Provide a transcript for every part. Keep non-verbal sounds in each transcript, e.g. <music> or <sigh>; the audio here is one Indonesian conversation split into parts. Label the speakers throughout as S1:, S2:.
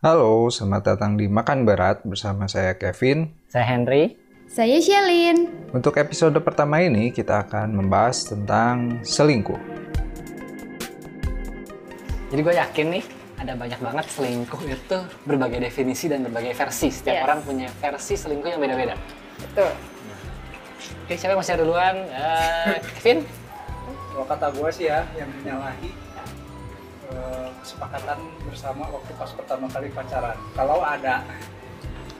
S1: Halo, selamat datang di Makan Berat bersama saya Kevin.
S2: Saya Henry.
S3: Saya Shelin.
S1: Untuk episode pertama ini kita akan membahas tentang selingkuh.
S2: Jadi gue yakin nih ada banyak banget selingkuh itu berbagai definisi dan berbagai versi. Setiap
S3: Yes.
S2: orang punya versi selingkuh yang beda-beda.
S3: Betul.
S2: Oke, siapa yang mau share duluan? Eh, Kevin?
S4: Kalau kata gue sih ya, yang menyalahi eh, kesepakatan bersama waktu pas pertama kali pacaran. Kalau ada,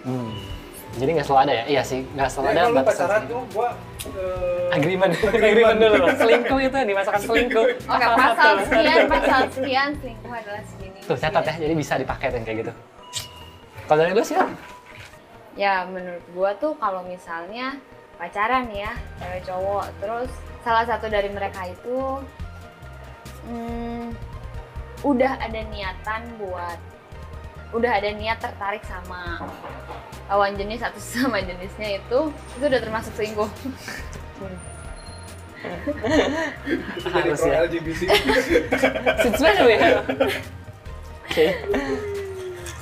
S2: Hmm. Jadi nggak selalu ada ya? Iya sih, nggak selalu
S4: Ya,
S2: ada gitu.
S4: kalau
S2: batasan
S4: pacaran tuh
S2: selingkuh.
S4: eh, gue
S2: Agreement, agreement dulu. Selingkuh itu yang dimasakan selingkuh.
S3: Oke,
S2: Pasal
S3: pasal
S2: satu.
S3: sekian, pasal sekian, selingkuh adalah segini.
S2: Tuh catat ya, jadi bisa dipakai yang kayak gitu. Kalau dari lu sih,
S3: Ya, menurut gua tuh kalau misalnya pacaran ya, cewek cowok, terus salah satu dari mereka itu hmm, udah ada niatan buat udah ada niat tertarik sama lawan jenis atau <laughs> sama jenisnya itu itu udah termasuk selingkuh.
S4: jadi
S2: harus
S4: pro
S2: ya.
S4: LGBT.
S2: Since when are we? Oke.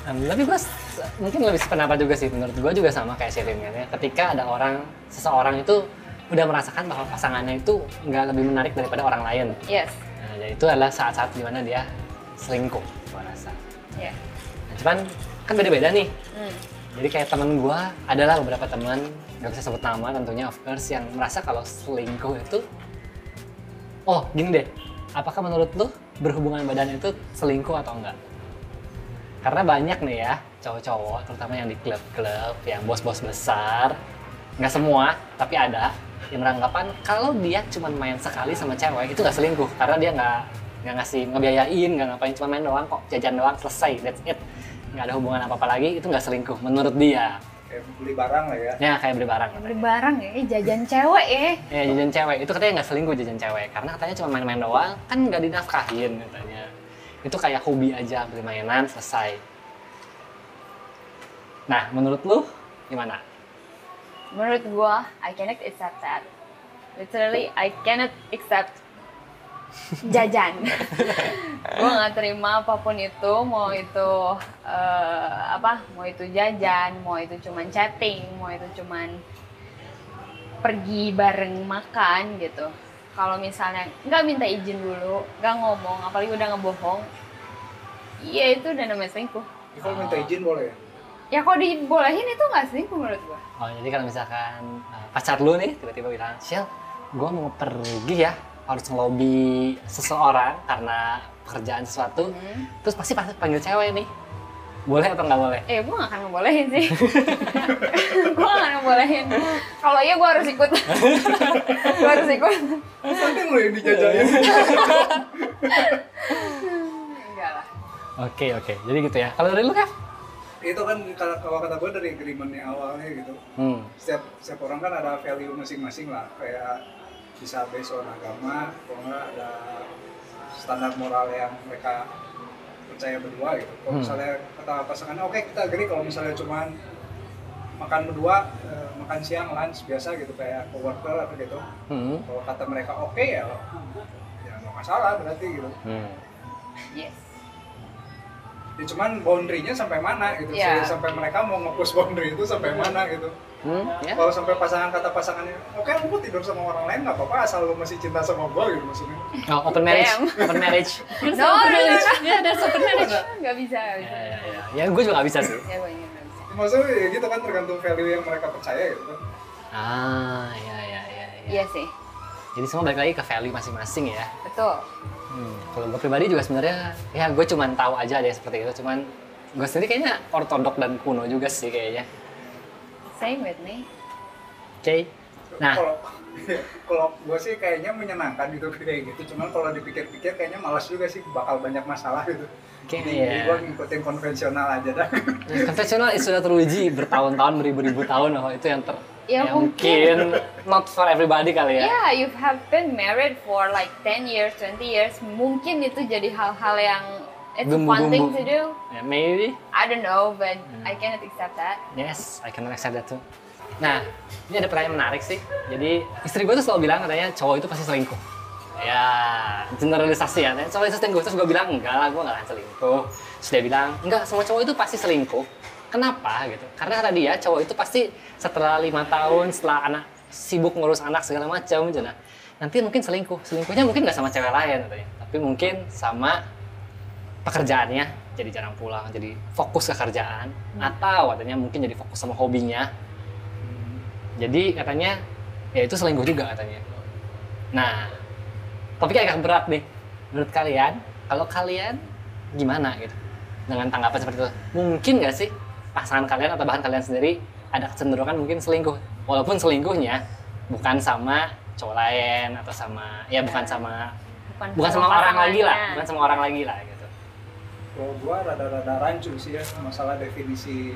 S2: Em, tapi gue mungkin lebih sependapat juga sih menurut gue juga sama kayak Sherin kan ya. Ketika ada orang seseorang itu udah merasakan bahwa pasangannya itu nggak lebih menarik daripada orang lain.
S3: Yes.
S2: Nah, ya itu adalah saat-saat dimana dia selingkuh, gue rasa.
S3: Ya.
S2: Nah, cuman kan beda-beda nih.
S3: Hmm.
S2: Jadi kayak temen gue adalah beberapa teman nggak bisa sebut nama tentunya of course yang merasa kalau selingkuh itu oh gini deh apakah menurut lu berhubungan badan itu selingkuh atau enggak? Karena banyak nih ya cowok-cowok terutama yang di klub-klub yang bos-bos besar nggak semua tapi ada yang beranggapan kalau dia cuma main sekali sama cewek itu nggak selingkuh karena dia nggak nggak ngasih ngebiayain nggak ngapain cuma main doang kok jajan doang selesai that's it nggak ada hubungan apa apa lagi itu nggak selingkuh menurut dia
S4: Kayak beli barang lah ya.
S2: ya kayak beli barang
S3: Beli
S2: katanya.
S3: barang ya, eh, jajan cewek ya.
S2: ya jajan cewek itu katanya nggak selingkuh jajan cewek karena katanya cuma main-main doang kan nggak dinafkahin katanya itu kayak hobi aja beli mainan selesai nah menurut lu gimana
S3: Menurut gua, I cannot accept that. Literally, I cannot accept jajan. gua nggak terima apapun itu, mau itu eh, apa, mau itu jajan, mau itu cuman chatting, mau itu cuman pergi bareng makan gitu. Kalau misalnya nggak minta izin dulu, nggak ngomong, apalagi udah ngebohong, iya itu udah namanya selingkuh.
S4: Jadi Kalau minta izin boleh ya?
S3: Ya kalau dibolehin itu nggak selingkuh menurut gua.
S2: Oh, jadi kalau misalkan uh, pacar lu nih tiba-tiba bilang, Shell, gue mau pergi ya, harus ngelobi seseorang karena pekerjaan sesuatu,
S3: Hmm.
S2: terus pasti pasti panggil cewek nih. Boleh atau nggak boleh?
S3: Eh, gue gak akan ngebolehin sih. <laughs> gue gak akan ngebolehin. Kalau iya gue harus ikut. gue harus ikut.
S2: Iya.
S4: Mungkin lo yang dijajanin.
S3: Enggak lah.
S2: Oke, oke. Jadi gitu ya. Kalau dari lu, Kev?
S4: itu kan kalau kalau kata gue dari agreementnya awalnya gitu.
S2: Hmm.
S4: Setiap setiap orang kan ada value masing-masing lah. Kayak bisa based on agama, kalau nggak ada standar moral yang mereka percaya berdua gitu. Kalau
S2: Hmm.
S4: misalnya kata pasangannya, oke kita agree kalau misalnya cuman makan berdua, eh, makan siang, lunch biasa gitu kayak coworker atau gitu.
S2: Hmm.
S4: Kalau kata mereka oke ya, ya nggak masalah berarti gitu.
S2: Hmm.
S3: Yes.
S4: Ya cuman boundary-nya sampai mana gitu.
S3: Iya.
S4: Sampai mereka mau nge-push boundary itu sampai mana gitu.
S2: Hmm, ya.
S4: Kalau sampai pasangan kata pasangannya, oke lu mau tidur sama orang lain nggak apa-apa asal lu masih cinta sama gua gitu maksudnya.
S2: Oh, open marriage.
S3: Damn.
S2: Open
S3: <laughs>
S2: marriage.
S3: No, no, no, no.
S2: Ya, that's open marriage.
S3: <laughs> Gak bisa,
S2: Ya,
S3: gak bisa.
S2: ya, ya. Ya, gue juga nggak bisa sih.
S3: Ya, gue ingin gak bisa.
S4: Maksudnya ya gitu kan tergantung value yang mereka percaya gitu kan.
S2: Nah. Ah, ya, ya, ya. ya.
S3: Iya sih.
S2: Jadi semua balik lagi ke value masing-masing ya.
S3: Betul.
S2: Hmm, kalau gue pribadi juga sebenarnya ya gue cuman tahu aja deh seperti itu cuman gue sendiri kayaknya ortodok dan kuno juga sih kayaknya
S3: Same with me.
S2: oke nah
S4: Kalau <laughs> kalau gua sih kayaknya menyenangkan gitu <laughs> kayak gitu. Cuman kalau dipikir-pikir kayaknya malas juga sih bakal banyak masalah gitu.
S2: oke
S4: Jadi
S2: ya
S4: gua ngikutin konvensional aja dah. <laughs>
S2: konvensional sudah teruji bertahun-tahun beribu-ribu tahun oh, itu yang ter
S3: Ya,
S2: yang not for everybody kali ya
S3: Yeah, you have been married for like 10 years, 20 years. Mungkin itu jadi hal-hal yang it's a fun
S2: Bumbu-bumbu.
S3: thing to do.
S2: Ya, maybe
S3: I don't know, but I cannot accept that.
S2: Yes, I can accept that too. Nah, ini ada pertanyaan menarik sih. Jadi istri gue tuh selalu bilang katanya cowok itu pasti selingkuh. ya generalisasi ya soalnya selingkuh terus gue bilang enggak lah gue nggak akan selingkuh terus dia bilang enggak semua cowok itu pasti selingkuh kenapa gitu karena kata dia cowok itu pasti setelah lima tahun setelah anak sibuk ngurus anak segala macam gitu nah nanti mungkin selingkuh selingkuhnya mungkin nggak sama cewek lain katanya tapi mungkin sama pekerjaannya jadi jarang pulang jadi fokus ke kerjaan atau katanya mungkin jadi fokus sama hobinya jadi katanya ya itu selingkuh juga katanya nah topiknya agak berat nih menurut kalian kalau kalian gimana gitu dengan tanggapan seperti itu mungkin nggak sih pasangan kalian atau bahan kalian sendiri ada kecenderungan mungkin selingkuh walaupun selingkuhnya bukan sama cowok lain atau sama ya bukan sama bukan sama orang lagi lah bukan sama orang lagi lah gitu
S4: Kalau gua rada-rada rancu sih ya masalah definisi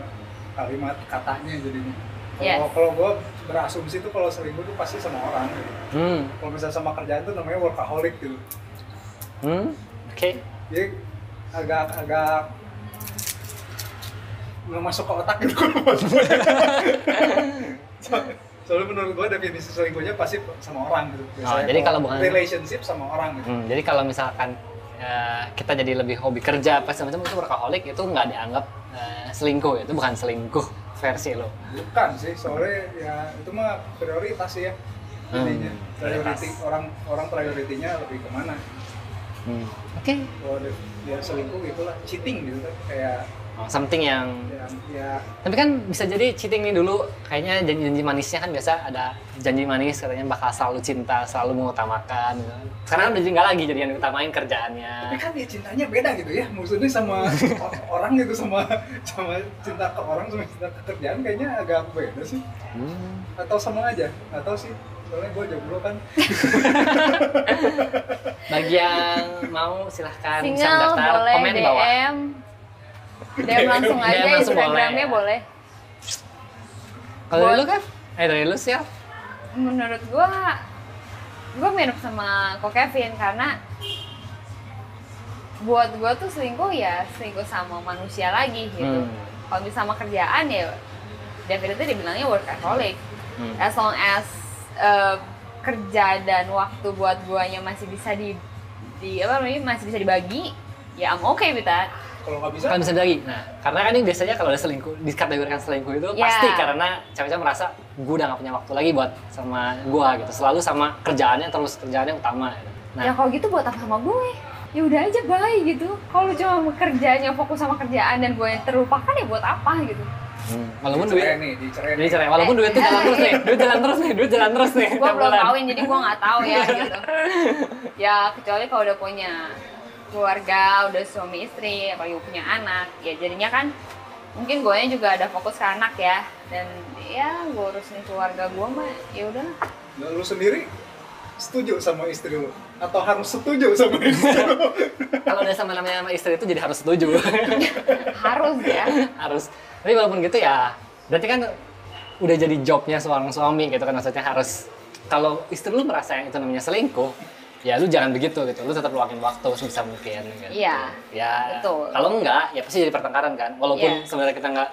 S4: eh, kalimat katanya jadinya. Kalau
S3: Yes.
S4: kalau gua berasumsi tuh kalau selingkuh tuh pasti sama orang. Gitu.
S2: hmm
S4: Kalau misalnya sama kerjaan tuh namanya workaholic gitu.
S2: hmm oke
S4: Jadi agak-agak nggak masuk ke otak
S2: <laughs>
S4: gitu kalau So- Soalnya menurut gua definisi selingkuhnya pasti sama orang gitu.
S2: Oh, jadi kalau bukan-
S4: relationship sama orang gitu.
S2: Hmm, jadi kalau misalkan eh, kita jadi lebih hobi kerja apa segala macam itu workaholic itu nggak dianggap eh, selingkuh itu bukan selingkuh versi lo.
S4: Bukan sih, soalnya ya itu mah prioritas sih ya.
S2: Hmm,
S4: Intinya, priority
S2: prioritas.
S4: orang orang prioritinya lebih kemana?
S2: Hmm. Oke.
S4: Kalau dia, dia selingkuh itulah cheating gitu kan, kayak
S2: Oh, something yang
S4: ya, ya
S2: tapi kan bisa jadi cheating nih dulu kayaknya janji-janji manisnya kan biasa ada janji manis katanya bakal selalu cinta selalu mengutamakan gitu. sekarang udah jadi nggak lagi jadi yang diutamain kerjaannya
S4: tapi kan ya cintanya beda gitu ya maksudnya sama <laughs> o- orang gitu sama sama cinta ke orang sama cinta ke kerjaan kayaknya agak beda sih
S2: Hmm.
S4: atau sama aja atau sih soalnya gue jomblo kan
S2: bagi yang mau silahkan bisa
S3: Single
S2: mendaftar
S3: boleh
S2: komen di bawah
S3: DM.
S2: <laughs>
S3: DM langsung
S2: DM
S3: aja
S2: langsung
S3: Instagramnya
S2: boleh.
S3: boleh.
S2: kalau dari lu
S3: Boleh.
S2: kan eh dari lu sih ya
S3: Menurut gua gua mirip sama Ko Kevin karena buat gua tuh selingkuh ya selingkuh sama manusia lagi gitu.
S2: Hmm.
S3: Kalau misalnya sama kerjaan ya definitely dibilangnya workaholic.
S2: Hmm.
S3: as long as uh, kerja dan waktu buat guanya masih bisa di di apa namanya masih bisa dibagi ya I'm okay with that
S4: kalau nggak bisa
S2: kan bisa lagi. Nah, karena kan ini biasanya kalau ada selingkuh, dikategorikan selingkuh itu
S3: Ya.
S2: pasti karena cewek-cewek merasa gue udah gak punya waktu lagi buat sama gue gitu. Selalu sama kerjaannya terus kerjaannya utama. Gitu. Nah,
S3: ya kalau gitu buat apa sama gue ya udah aja bye gitu kalau cuma kerjanya fokus sama kerjaan dan gue terlupakan ya buat apa gitu
S2: hmm, walaupun duit
S4: dicerai nih dicerai
S2: jadi
S4: nih
S2: cerai, walaupun duit tuh jalan terus nih, duit jalan terus nih, duit jalan terus nih.
S3: gue
S2: tiap
S3: belum
S2: bulan.
S3: kawin jadi gue nggak tahu
S2: <laughs>
S3: ya gitu ya kecuali kalau udah punya keluarga udah suami istri apalagi punya anak ya jadinya kan mungkin gue juga ada fokus ke anak ya dan ya gue urusin keluarga gue mah ya udah
S4: Nah, lu sendiri setuju sama istri lu atau harus setuju sama <laughs> istri lu
S2: Kalau udah sama namanya sama istri itu jadi harus setuju.
S3: <laughs> harus ya
S2: harus. Tapi walaupun gitu ya, berarti kan udah jadi jobnya seorang suami gitu kan maksudnya harus kalau istri lu merasa yang itu namanya selingkuh, ya lu jangan begitu gitu. Lu tetap luangin waktu sebisa mungkin gitu.
S3: Iya,
S2: Ya.
S3: betul.
S2: Kalau enggak, ya pasti jadi pertengkaran kan. Walaupun
S3: Iya.
S2: sebenarnya kita enggak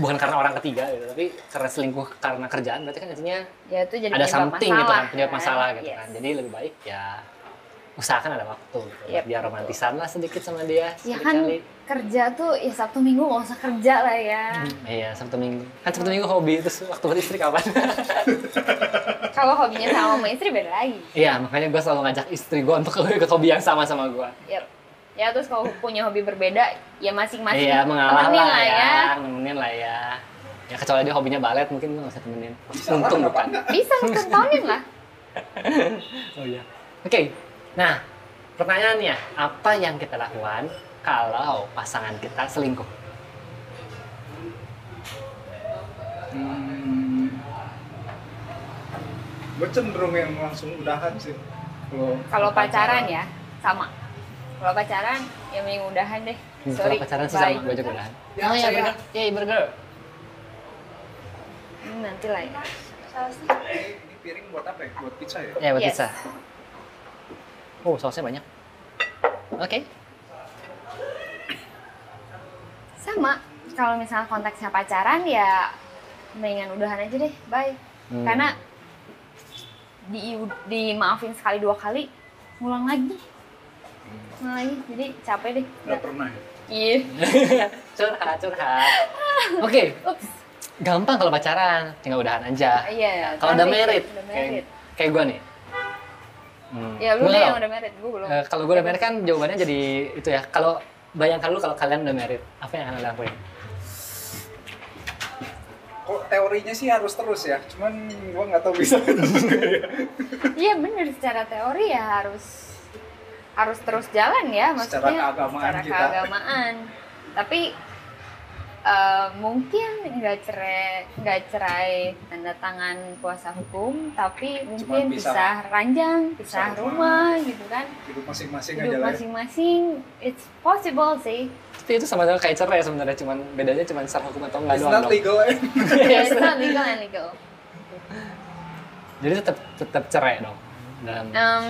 S2: bukan karena orang ketiga gitu, tapi karena selingkuh karena kerjaan berarti kan intinya
S3: ya itu jadi
S2: ada
S3: penyebab
S2: something gitu kan, penyebab
S3: kan.
S2: masalah gitu
S3: Yes.
S2: kan. Jadi lebih baik ya usahakan ada waktu gitu.
S3: Yep.
S2: biar romantisan lah sedikit sama dia
S3: ya kan
S2: sekali-kali.
S3: kerja tuh ya sabtu minggu nggak usah kerja lah ya
S2: Iya, Sabtu Minggu. Kan Sabtu Minggu hobi, terus waktu beristri kapan?
S3: kalau hobinya sama sama istri beda lagi
S2: <laughs> Iya, makanya gue selalu ngajak istri gue untuk ikut hobi yang sama sama gue.
S3: Yap. Ya terus kalau punya hobi berbeda, ya masing-masing
S2: Iya, mengalah
S3: temenin
S2: lah ya, nemenin lah ya. Ya kecuali dia hobinya balet, mungkin gue gak usah temenin.
S4: Bisa lah,
S2: Untung
S4: kenapa
S2: bukan.
S4: enggak?
S3: Bisa kentonin lah.
S2: Oh iya. Oke, nah pertanyaannya, apa yang kita lakukan kalau pasangan kita selingkuh?
S4: gue cenderung yang langsung udahan sih kalau
S3: Kalau pacaran ya sama. Kalau pacaran ya mending udahan deh.
S2: Hmm,
S3: Sorry.
S2: Kalau pacaran sih
S3: bye.
S2: sama, gue juga udahan.
S4: Ya,
S2: oh iya,
S4: saya-
S2: burger. Iya, burger.
S3: Hmm, nanti lah ya.
S4: Eh, ini piring buat apa ya buat pizza ya
S2: Ya, buat
S3: Yes.
S2: pizza. Oh, sausnya banyak. Oke.
S3: Sama. Kalau misalnya konteksnya pacaran ya mendingan udahan aja deh. Bye.
S2: Hmm.
S3: Karena di dimaafin sekali dua kali ngulang lagi ngulang lagi jadi capek deh
S4: Udah pernah ya?
S3: iya
S2: <laughs> curhat curhat oke
S3: ups
S2: gampang kalau pacaran tinggal udahan aja
S3: iya
S2: kalau udah
S3: cantik.
S2: merit
S3: udah
S2: kayak,
S3: merit
S2: kayak gue nih Hmm.
S3: ya lu
S2: Gua
S3: deh
S2: nggak
S3: yang udah merit gue belum
S2: Eh, kalau gue udah married kan jawabannya jadi itu ya. Kalau bayangkan lu kalau kalian udah married, apa yang akan kalian lakuin?
S4: Kok teorinya sih harus terus ya, cuman gua nggak tahu
S3: <laughs>
S4: bisa terus nggak ya.
S3: iya bener secara teori ya harus harus terus jalan ya maksudnya
S4: Secara keagamaan
S3: secara
S4: kita.
S3: keagamaan. tapi eh, mungkin nggak cerai nggak cerai tanda tangan kuasa hukum tapi mungkin
S4: pisah.
S3: pisah, ranjang pisah
S4: Pisah rumah.
S3: rumah gitu kan
S4: Hidup masing-masing aja lah
S3: hidup
S4: ya.
S3: masing-masing it's possible
S4: <laughs>
S3: sih
S2: Tapi itu sama sama kayak cerai sebenarnya, cuman bedanya cuman secara hukum atau enggak
S4: It's
S2: doang.
S4: not
S2: dong.
S4: legal ya.
S3: Iya, it's not legal and legal
S2: Jadi tetap tetap cerai dong. Dalam
S3: um,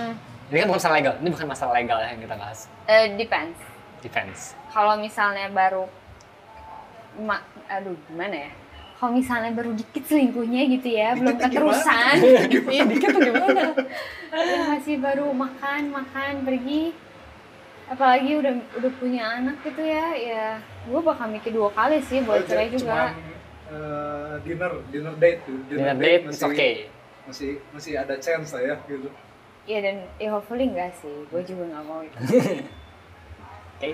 S2: ini kan bukan masalah legal, ini bukan masalah legal yang kita bahas.
S3: eh, depends
S2: Defense.
S3: kalau misalnya baru ma- aduh gimana ya kalau misalnya baru dikit selingkuhnya gitu ya
S4: Dikit
S3: belum
S4: tuh
S3: <laughs> keterusan
S2: Iya, dikit tuh gimana?
S3: ya masih baru makan makan pergi apalagi udah udah punya anak gitu ya ya gue bakal mikir dua kali sih buat cerai
S4: Cuman
S3: juga
S4: eh, dinner, dinner date tuh.
S2: Dinner date it's
S4: masih,
S2: okay.
S4: masih, masih ada chance lah ya gitu.
S3: ya dan ya hopefully enggak sih gue juga nggak mau gitu. itu
S2: Oke.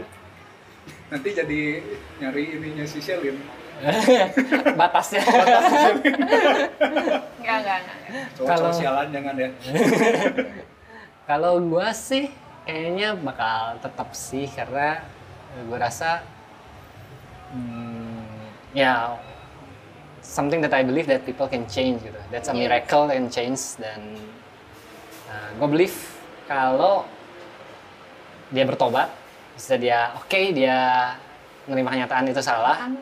S4: Nanti jadi nyari ininya si Shelin.
S2: <laughs> Batasnya.
S3: <laughs> enggak enggak enggak
S4: Cowok-cowok
S2: Kalau-
S4: sialan jangan ya.
S2: Kalau gua sih kayaknya bakal tetap sih karena gue rasa hmm, ya something that I believe that people can change gitu. That's a
S3: Yes.
S2: miracle and change dan gue believe kalau dia bertobat bisa dia oke dia menerima kenyataan itu salah
S3: Kan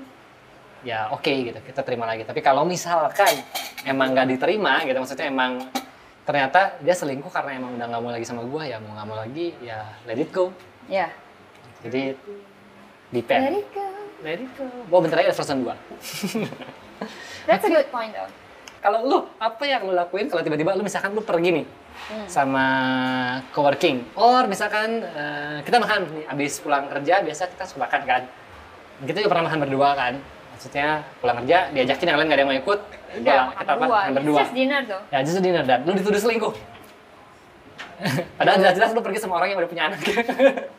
S2: ya oke gitu kita terima lagi tapi kalau misalkan emang nggak diterima gitu maksudnya emang ternyata dia selingkuh karena emang udah nggak mau lagi sama gua ya mau nggak mau lagi ya let it go
S3: ya
S2: jadi depend
S3: dari ke
S2: let it go oh bentar lagi ada version dua
S3: that's a good point though
S2: kalau lu apa yang lu lakuin kalau tiba-tiba lu misalkan lu pergi nih
S3: Hmm.
S2: sama coworking or misalkan eh, kita makan nih abis pulang kerja biasa kita suka makan kan kita juga pernah makan berdua kan maksudnya pulang kerja diajakin yang lain nggak ada yang mau ikut udah,
S3: udah
S2: kita
S3: Iya, makan Iya berdua
S2: makan
S3: It's
S2: berdua
S3: just dinner tuh
S2: Ya justru dinner dan lu dituduh selingkuh. <laughs>
S3: Iya.
S2: Padahal jelas-jelas lu pergi sama orang yang udah punya anak.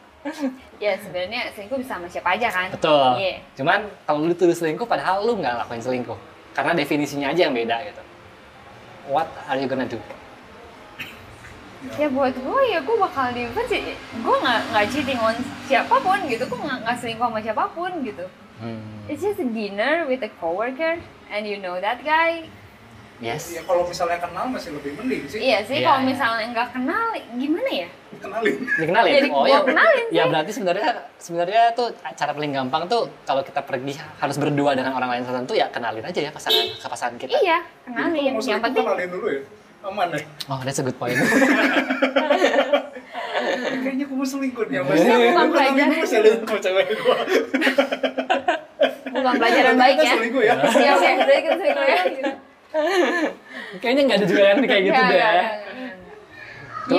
S2: <laughs>
S3: ya sebenarnya selingkuh bisa sama siapa aja kan
S2: Betul.
S3: Iya.
S2: Cuman kalau lu dituduh selingkuh padahal lu nggak lakuin selingkuh. Karena definisinya aja yang beda gitu. What are you gonna do?
S3: ya buat gue ya gue bakal di gue nggak nggak cheating on siapapun gitu gue nggak nggak selingkuh sama siapapun gitu
S2: Hmm.
S3: it's just a dinner with a coworker and you know that guy
S2: Yes.
S4: Ya kalau misalnya kenal masih lebih mending sih.
S3: iya sih
S2: Iya,
S3: kalau
S2: iya.
S3: misalnya nggak kenal gimana ya
S4: Kenalin.
S2: Dikenalin.
S3: Jadi gua kenalin
S2: Ya berarti sebenarnya sebenarnya tuh cara paling gampang tuh kalau kita pergi harus berdua dengan orang lain tertentu ya kenalin aja ya pasangan ke pasangan kita.
S3: iya
S4: Jadi kalau
S3: kenalin
S4: mau
S3: yang
S4: selingkuh,
S3: penting
S4: kenalin dulu ya. Aman
S3: <laughs>
S4: ya.
S2: Oh, that's a good point. <laughs>
S4: Kayaknya gue mau selingkuh nih sama Shelin.
S3: bukan
S4: Gua kenalin
S3: pelajaran.
S4: dulu Shelin sama cewek gue.
S3: bukan pelajaran baik ya
S4: selingkuh ya.
S3: Iya, oke, berarti kita selingkuh ya. gitu.
S2: Kayaknya nggak ada juga yang kayak gitu
S3: Nggak,
S2: deh.
S3: nggak, nggak, nggak.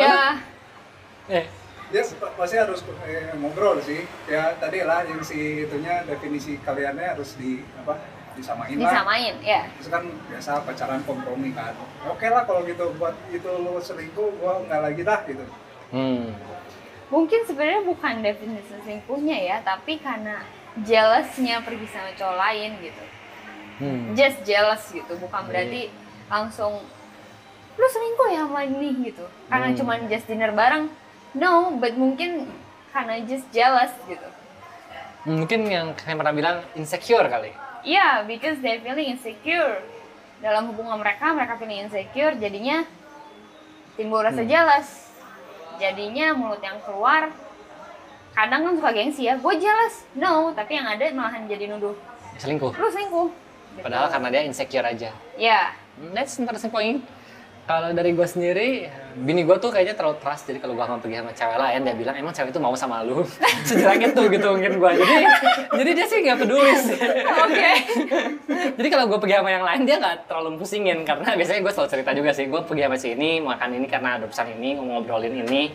S2: Eh,
S3: Iya,
S4: Ya pa- pasti harus eh, ngobrol sih. Ya tadi lah yang si itunya definisi kaliannya harus di apa disamain lah.
S3: disamain, ya.
S4: Itu kan biasa pacaran kompromi kan. Oke lah kalau gitu buat itu lo selingkuh, gua nggak lagi dah gitu.
S2: Hmm.
S3: Mungkin sebenarnya bukan definisi selingkuhnya ya, tapi karena jealousnya pergi sama cowok lain gitu.
S2: Hmm.
S3: just jealous gitu bukan berarti langsung lu selingkuh ya sama ini gitu karena
S2: Hmm.
S3: cuman just dinner bareng no but mungkin karena just jealous gitu
S2: Mungkin yang kalian pernah bilang insecure kali.
S3: yeah Iya, because they feeling insecure dalam hubungan mereka mereka feeling insecure jadinya timbul rasa
S2: Hmm.
S3: jealous jadinya mulut yang keluar kadang kan suka gengsi ya gue jealous no tapi yang ada malahan jadi nuduh
S2: Selingkuh.
S3: lu selingkuh Gitu.
S2: Padahal karena dia insecure aja. <laughs>
S3: ya
S2: Hmm, That's interesting point. Kalau dari gue sendiri, bini gue tuh kayaknya terlalu trust. Jadi kalau gue mau pergi sama cewek lain, dia bilang emang cewek itu mau sama lu. <laughs> Sejelek itu gitu mungkin gue. Jadi, jadi dia sih nggak peduli sih.
S3: Oke.
S2: Jadi kalau gue pergi sama yang lain, dia nggak terlalu pusingin. Karena biasanya gue selalu cerita juga sih. Gue pergi sama si ini, makan ini karena ada pesan ini, ngobrolin ini.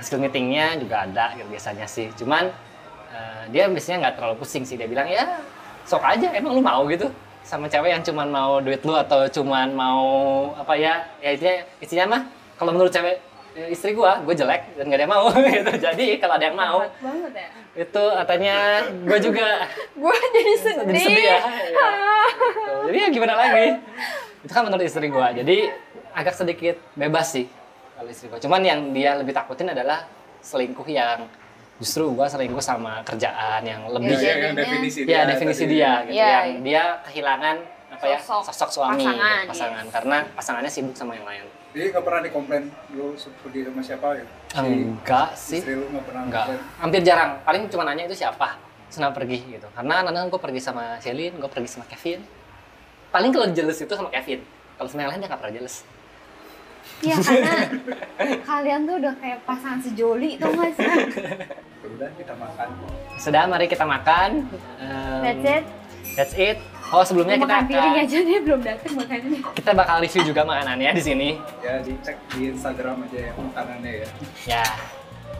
S2: Hasil meetingnya juga ada gitu biasanya sih. Cuman eh, dia biasanya nggak terlalu pusing sih. Dia bilang ya sok aja, emang lu mau gitu sama cewek yang cuman mau duit lu atau cuman mau apa ya ya intinya intinya mah kalau menurut cewek eh, istri gua gue jelek dan gak ada yang mau <laughs> gitu jadi kalau ada yang mau
S3: Hebat banget ya.
S2: itu katanya gue juga
S3: Gue jadi sedih.
S2: jadi sedih
S3: <laughs>
S2: ya. Iya. Gitu. Jadi ya gimana lagi? Itu kan menurut istri gua. Jadi agak sedikit bebas sih kalau istri gua. Cuman yang dia lebih takutin adalah selingkuh yang justru gua selingkuh sama kerjaan yang lebih ya,
S3: Iya, iya.
S4: yang definisi dia.
S2: definisi
S4: tadi.
S2: dia gitu
S3: Iya,
S2: yang
S3: iya.
S2: dia kehilangan apa ya
S3: Sosok
S2: sosok, suami
S3: pasangan, iya.
S2: pasangan, karena pasangannya sibuk sama yang lain.
S4: Jadi nggak pernah dikomplain lu pergi sama siapa gitu. Si
S2: Enggak sih.
S4: istri lu nggak pernah
S2: Enggak,
S4: komplain.
S2: hampir jarang. Paling cuma nanya itu siapa, senang pergi gitu. Karena kadang gue pergi sama Celine, gue pergi sama Kevin. Paling kalau jealous itu sama Kevin. Kalau sama yang lain dia nggak pernah jealous.
S3: Iya karena kalian tuh udah kayak pasangan sejoli tuh mas.
S2: <laughs>
S4: Ya Udah kita makan.
S2: Sudah, mari kita makan. Em,
S3: That's it.
S2: That's it. Oh sebelumnya kita
S3: Makan piring
S2: akan-
S3: aja deh ya, belum dateng makannya.
S2: kita bakal review juga makanannya di sini.
S4: Ya dicek di Instagram aja ya makanannya ya.
S2: Ya.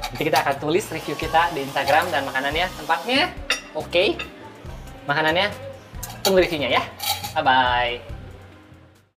S2: Nanti kita akan tulis review kita di Instagram dan makanannya tempatnya oke. Makanannya tunggu reviewnya ya. Bye bye.